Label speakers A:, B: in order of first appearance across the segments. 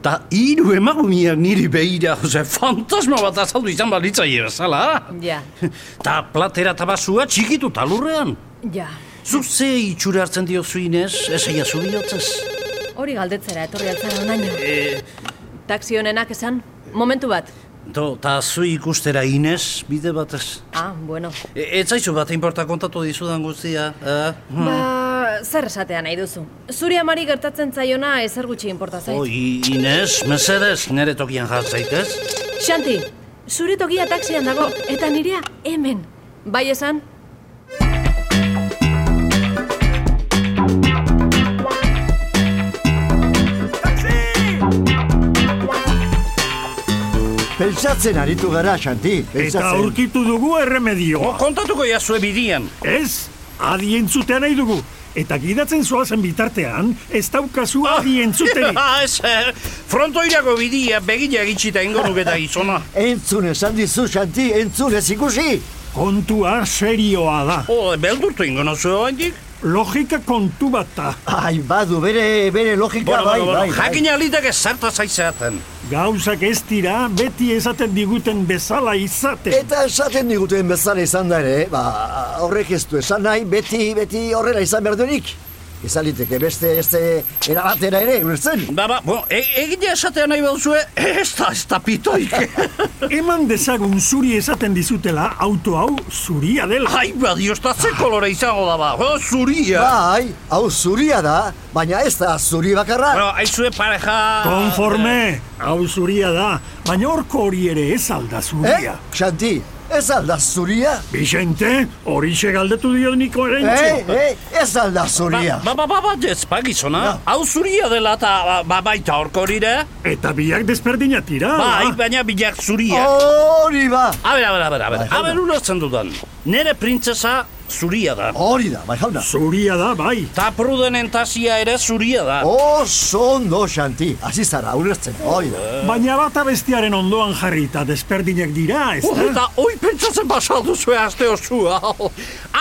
A: Eta hiru emagumiak er niri behira, ose, fantasma bat azaldu izan balitza jerzala, ha?
B: Ja.
A: Ta platera eta basua txikitu talurrean.
B: Ja,
A: Zuk ze itxura hartzen diozu Inez, ez eia zu bihotzez.
B: hori galdetzera etorri altzara onaino.
A: E,
B: Taxi honenak esan, momentu bat.
A: do, ta zu ikustera Inez, bide batez.
B: Ah, bueno.
A: E, ez zaizu bat inporta kontatu dizudan guztia, eh?
B: Ba, zer esatea nahi duzu? Zuri amari gertatzen zaiona ezer gutxi inporta zait.
A: O, I- Inez, mesedez, nire tokian jar zaitez.
B: Xanti, zure tokia taxian dago, eta nirea hemen. Bai esan?
C: Pentsatzen aritu gara, Xanti.
D: Eta
C: Pentsatzen.
D: aurkitu dugu erremedio.
A: O, kontatuko jazue bidian.
D: Ez, adientzutea nahi dugu. Eta gidatzen zoazen bitartean, ez daukazu
C: Ah.
A: Bai,
D: adientzuterik.
A: Ha, ez, eh, Ah, frontoirako bidia begila egitxita ingo nuketa gizona.
C: Entzun esan dizu, Xanti, entzun ez ikusi.
D: Kontua serioa da.
A: O, beldurtu Oh, ingo nozu oraindik.
D: Logika kontu bat da.
C: Ai, badu, bere, bere logika,
A: Bueno,
C: bai,
A: bueno, bueno,
C: bai, bai.
A: jakin aliteke zarta zaizaten.
D: Gauzak ez dira beti esaten diguten bezala izaten.
C: Eta esaten diguten bezala izan da ere, ba, horrek ez du esan nahi, beti, beti horrela izan behar duenik. Izan liteke beste, beste, erabatera ere, ulertzen?
A: Ba, ba, bueno, e, egite esatea nahi behuzue, ez da, ez da pitoik.
D: Eman dezagun zuri esaten dizutela auto hau zuria dela.
A: Ai, ba, dios, da ze kolore izango da ba, jo, zuria.
C: Bai, hau zuria da, baina ez da zuri bakarra.
A: Bueno, aizue
C: Ah.
A: pareja...
D: Konforme, hau zuria da, baina horko hori ere ez alda
C: Eh,
D: zuria.
C: Xanti, ez alda zuria?
D: Bixente, hori galdetu dio niko
C: Eh, eh, ez alda zuria.
A: Ba, ba, ba, ba, ez, ba, gizona. Hau zuria dela eta ba, ba, baita horko horire.
D: Eta biak desberdina tira.
A: Bai,
D: ba.
A: baina bilak zuria.
C: Hori ba,
A: A ber, a ber, a ber, a ber,
C: Bai,
A: a
C: jauna.
A: ber, ulertzen dudan. Nere printzesa zuria da.
C: hori da, bai jauna.
D: Zuria da, bai.
A: Ta prudenen tasia ere zuria da.
C: Oso ondo, Xanti, hasi zara, ulertzen, Bai, hori da.
A: Eh.
D: Baina bata bestiaren ondoan jarrita desperdinak dira, ez
A: Oh,
D: da?
A: eta oi pentsatzen basaldu zue aste osua.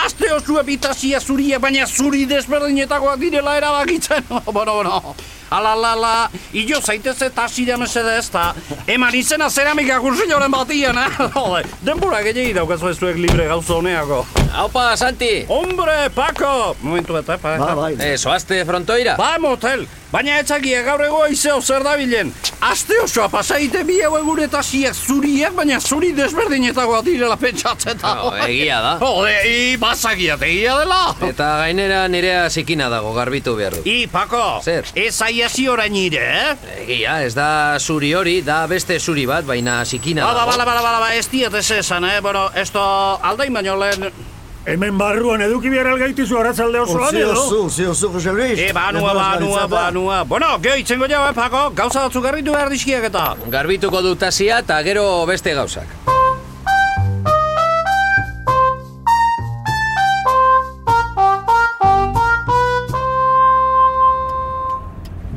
A: Aste osua bitazia zuria, baina zuri desberdinetakoak direla erabakitzen. bueno, bueno. Ala, ala, ala, hilo zaitez eta azira mesedez, eta eman izena zeramika kursiloren batian, eh? Jode, denbora gehiagi daukazu ez zuek libre gauza honeako.
E: Haupa, Santi!
A: Hombre, Paco! Momentu bat, eh, Paco?
C: Ba, bai.
E: Eh, zoazte frontoira?
A: Ba, e motel, baina etzakia gaur ego izeo zer dabilen. Aste osoa pasaite bi hau gure tasiak zuriak, baina zuri desberdinetagoa direla pentsatzen eta...
E: Oh, egia da.
A: Jode, i, bazakia tegia dela.
E: Eta gainera nirea zikina dago garbitu behar du.
A: I, Pako,
E: Zer?
A: ez aiazi orain nire, eh?
E: Egia, ez da zuri hori, da beste zuri bat, baina zikina
A: Bala,
E: dago.
A: bala, bala, bala, bala, ba, ez diat ez esan, eh? Bueno, esto aldain baino lehen...
D: Hemen barruan eduki behar algaitizu horatzalde osoan
C: Utzi
D: edo?
C: oso, utzi oso, Jose Luis.
A: E, banua, banua, banua... Bueno, geho itzengo jau, eh, Pako? Gauza batzuk garritu behar dizkiak eta...
E: Garbituko dut tasia eta gero beste gauzak.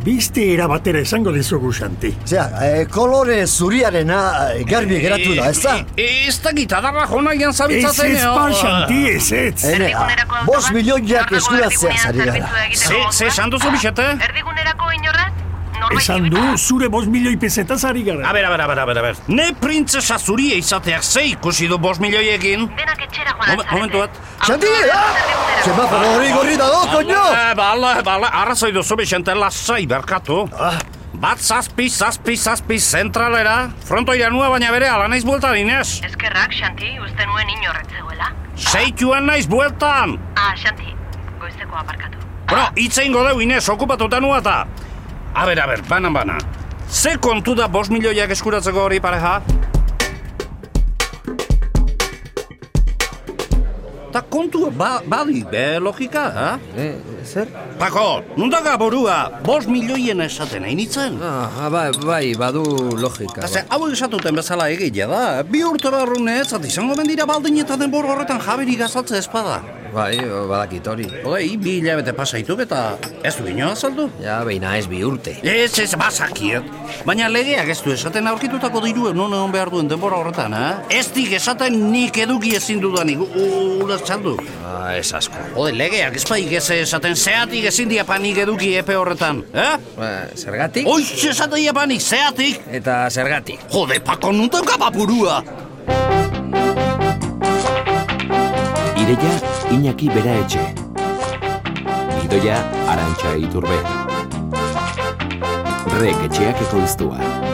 D: Biste era batera esango dizugu, Xanti.
C: Zea, eh, kolore zuriarena eh, garbi geratu da, ez da?
A: E, ez da gitarra jona gian
D: Ez
A: zabitzatzen...
D: ez
A: eh,
D: pa,
A: oh.
D: Xanti, ez
A: eh.
D: ez.
C: Ene, ah,
F: Erdigunerako autobat,
C: bos milioiak
F: gaur gaueko
C: eskuratzea
F: erdigunean
C: zari gara.
F: zerbitzua egiteko
A: Ze, ze
F: moduan.
A: esan duzu bixete?
F: Erdigunerako inorrat? Norbait
D: Esan
F: ibili-
D: du, zure bost milioi pesetaz ari
A: A
D: gara.
A: ber, a ber, a ber, a ber, a ber. Ne printzesa zuria izateak ze ikusi du bost milioiekin?
F: Denak etxera joan
A: Momen- momentu bat.
C: Xanti, ah! Semaforo hori gorri dago, koño!
A: Eh, Bala, bala, arrazoi duzu bixente lasai berkatu. Bat zazpi, zazpi, zazpi, zentralera, frontoira nua baina bere ala naiz bueltan, Inez.
F: Eskerrak, Xanti, uste nuen inorret zegoela.
A: Seituan naiz bueltan.
F: Ah, Xanti, goizeko aparkatu.
A: Bueno, itzein godeu, Inez, okupatuta nua eta... A ber, a ber, banan, banan. Ze kontu da bost milioiak eskuratzeko hori pareja? Ta kontu ba, badi, be logika, ha?
E: Eh, zer?
A: Pako, nundaga burua, bost milioien esaten hain itzen.
E: Ah, bai, bai, badu logika.
A: Ze, hau esatuten bezala egia da, bi urte barrune ez at izango mendira baldin eta denbor horretan jaberik azaltze espada.
E: bai. Bai, badakit hori.
A: Hogei, bi hilabete pasaitu eta ez du inoa azaldu.
E: Ja, baina ez bi urte.
A: Ez, ez, bazakiet. Baina legeak ez du esaten aurkitutako diruen non egon behar duen denbora horretan, ha? Ez dik esaten nik eduki ezin dudanik, u- ulertzen du.
E: Ah, ez asko.
A: Ode, legeak ez baik ez esaten zeatik ezin diapanik eduki epe horretan, eh?
E: Ba, zergatik?
A: Oiz esaten diapanik, zeatik!
E: Eta zergatik.
A: Jode, pako nuntan kapapurua!
G: Ideia Iñaki Bera Etxe. Gidoia Arantxa Iturbe. Rek etxeak ekoiztua.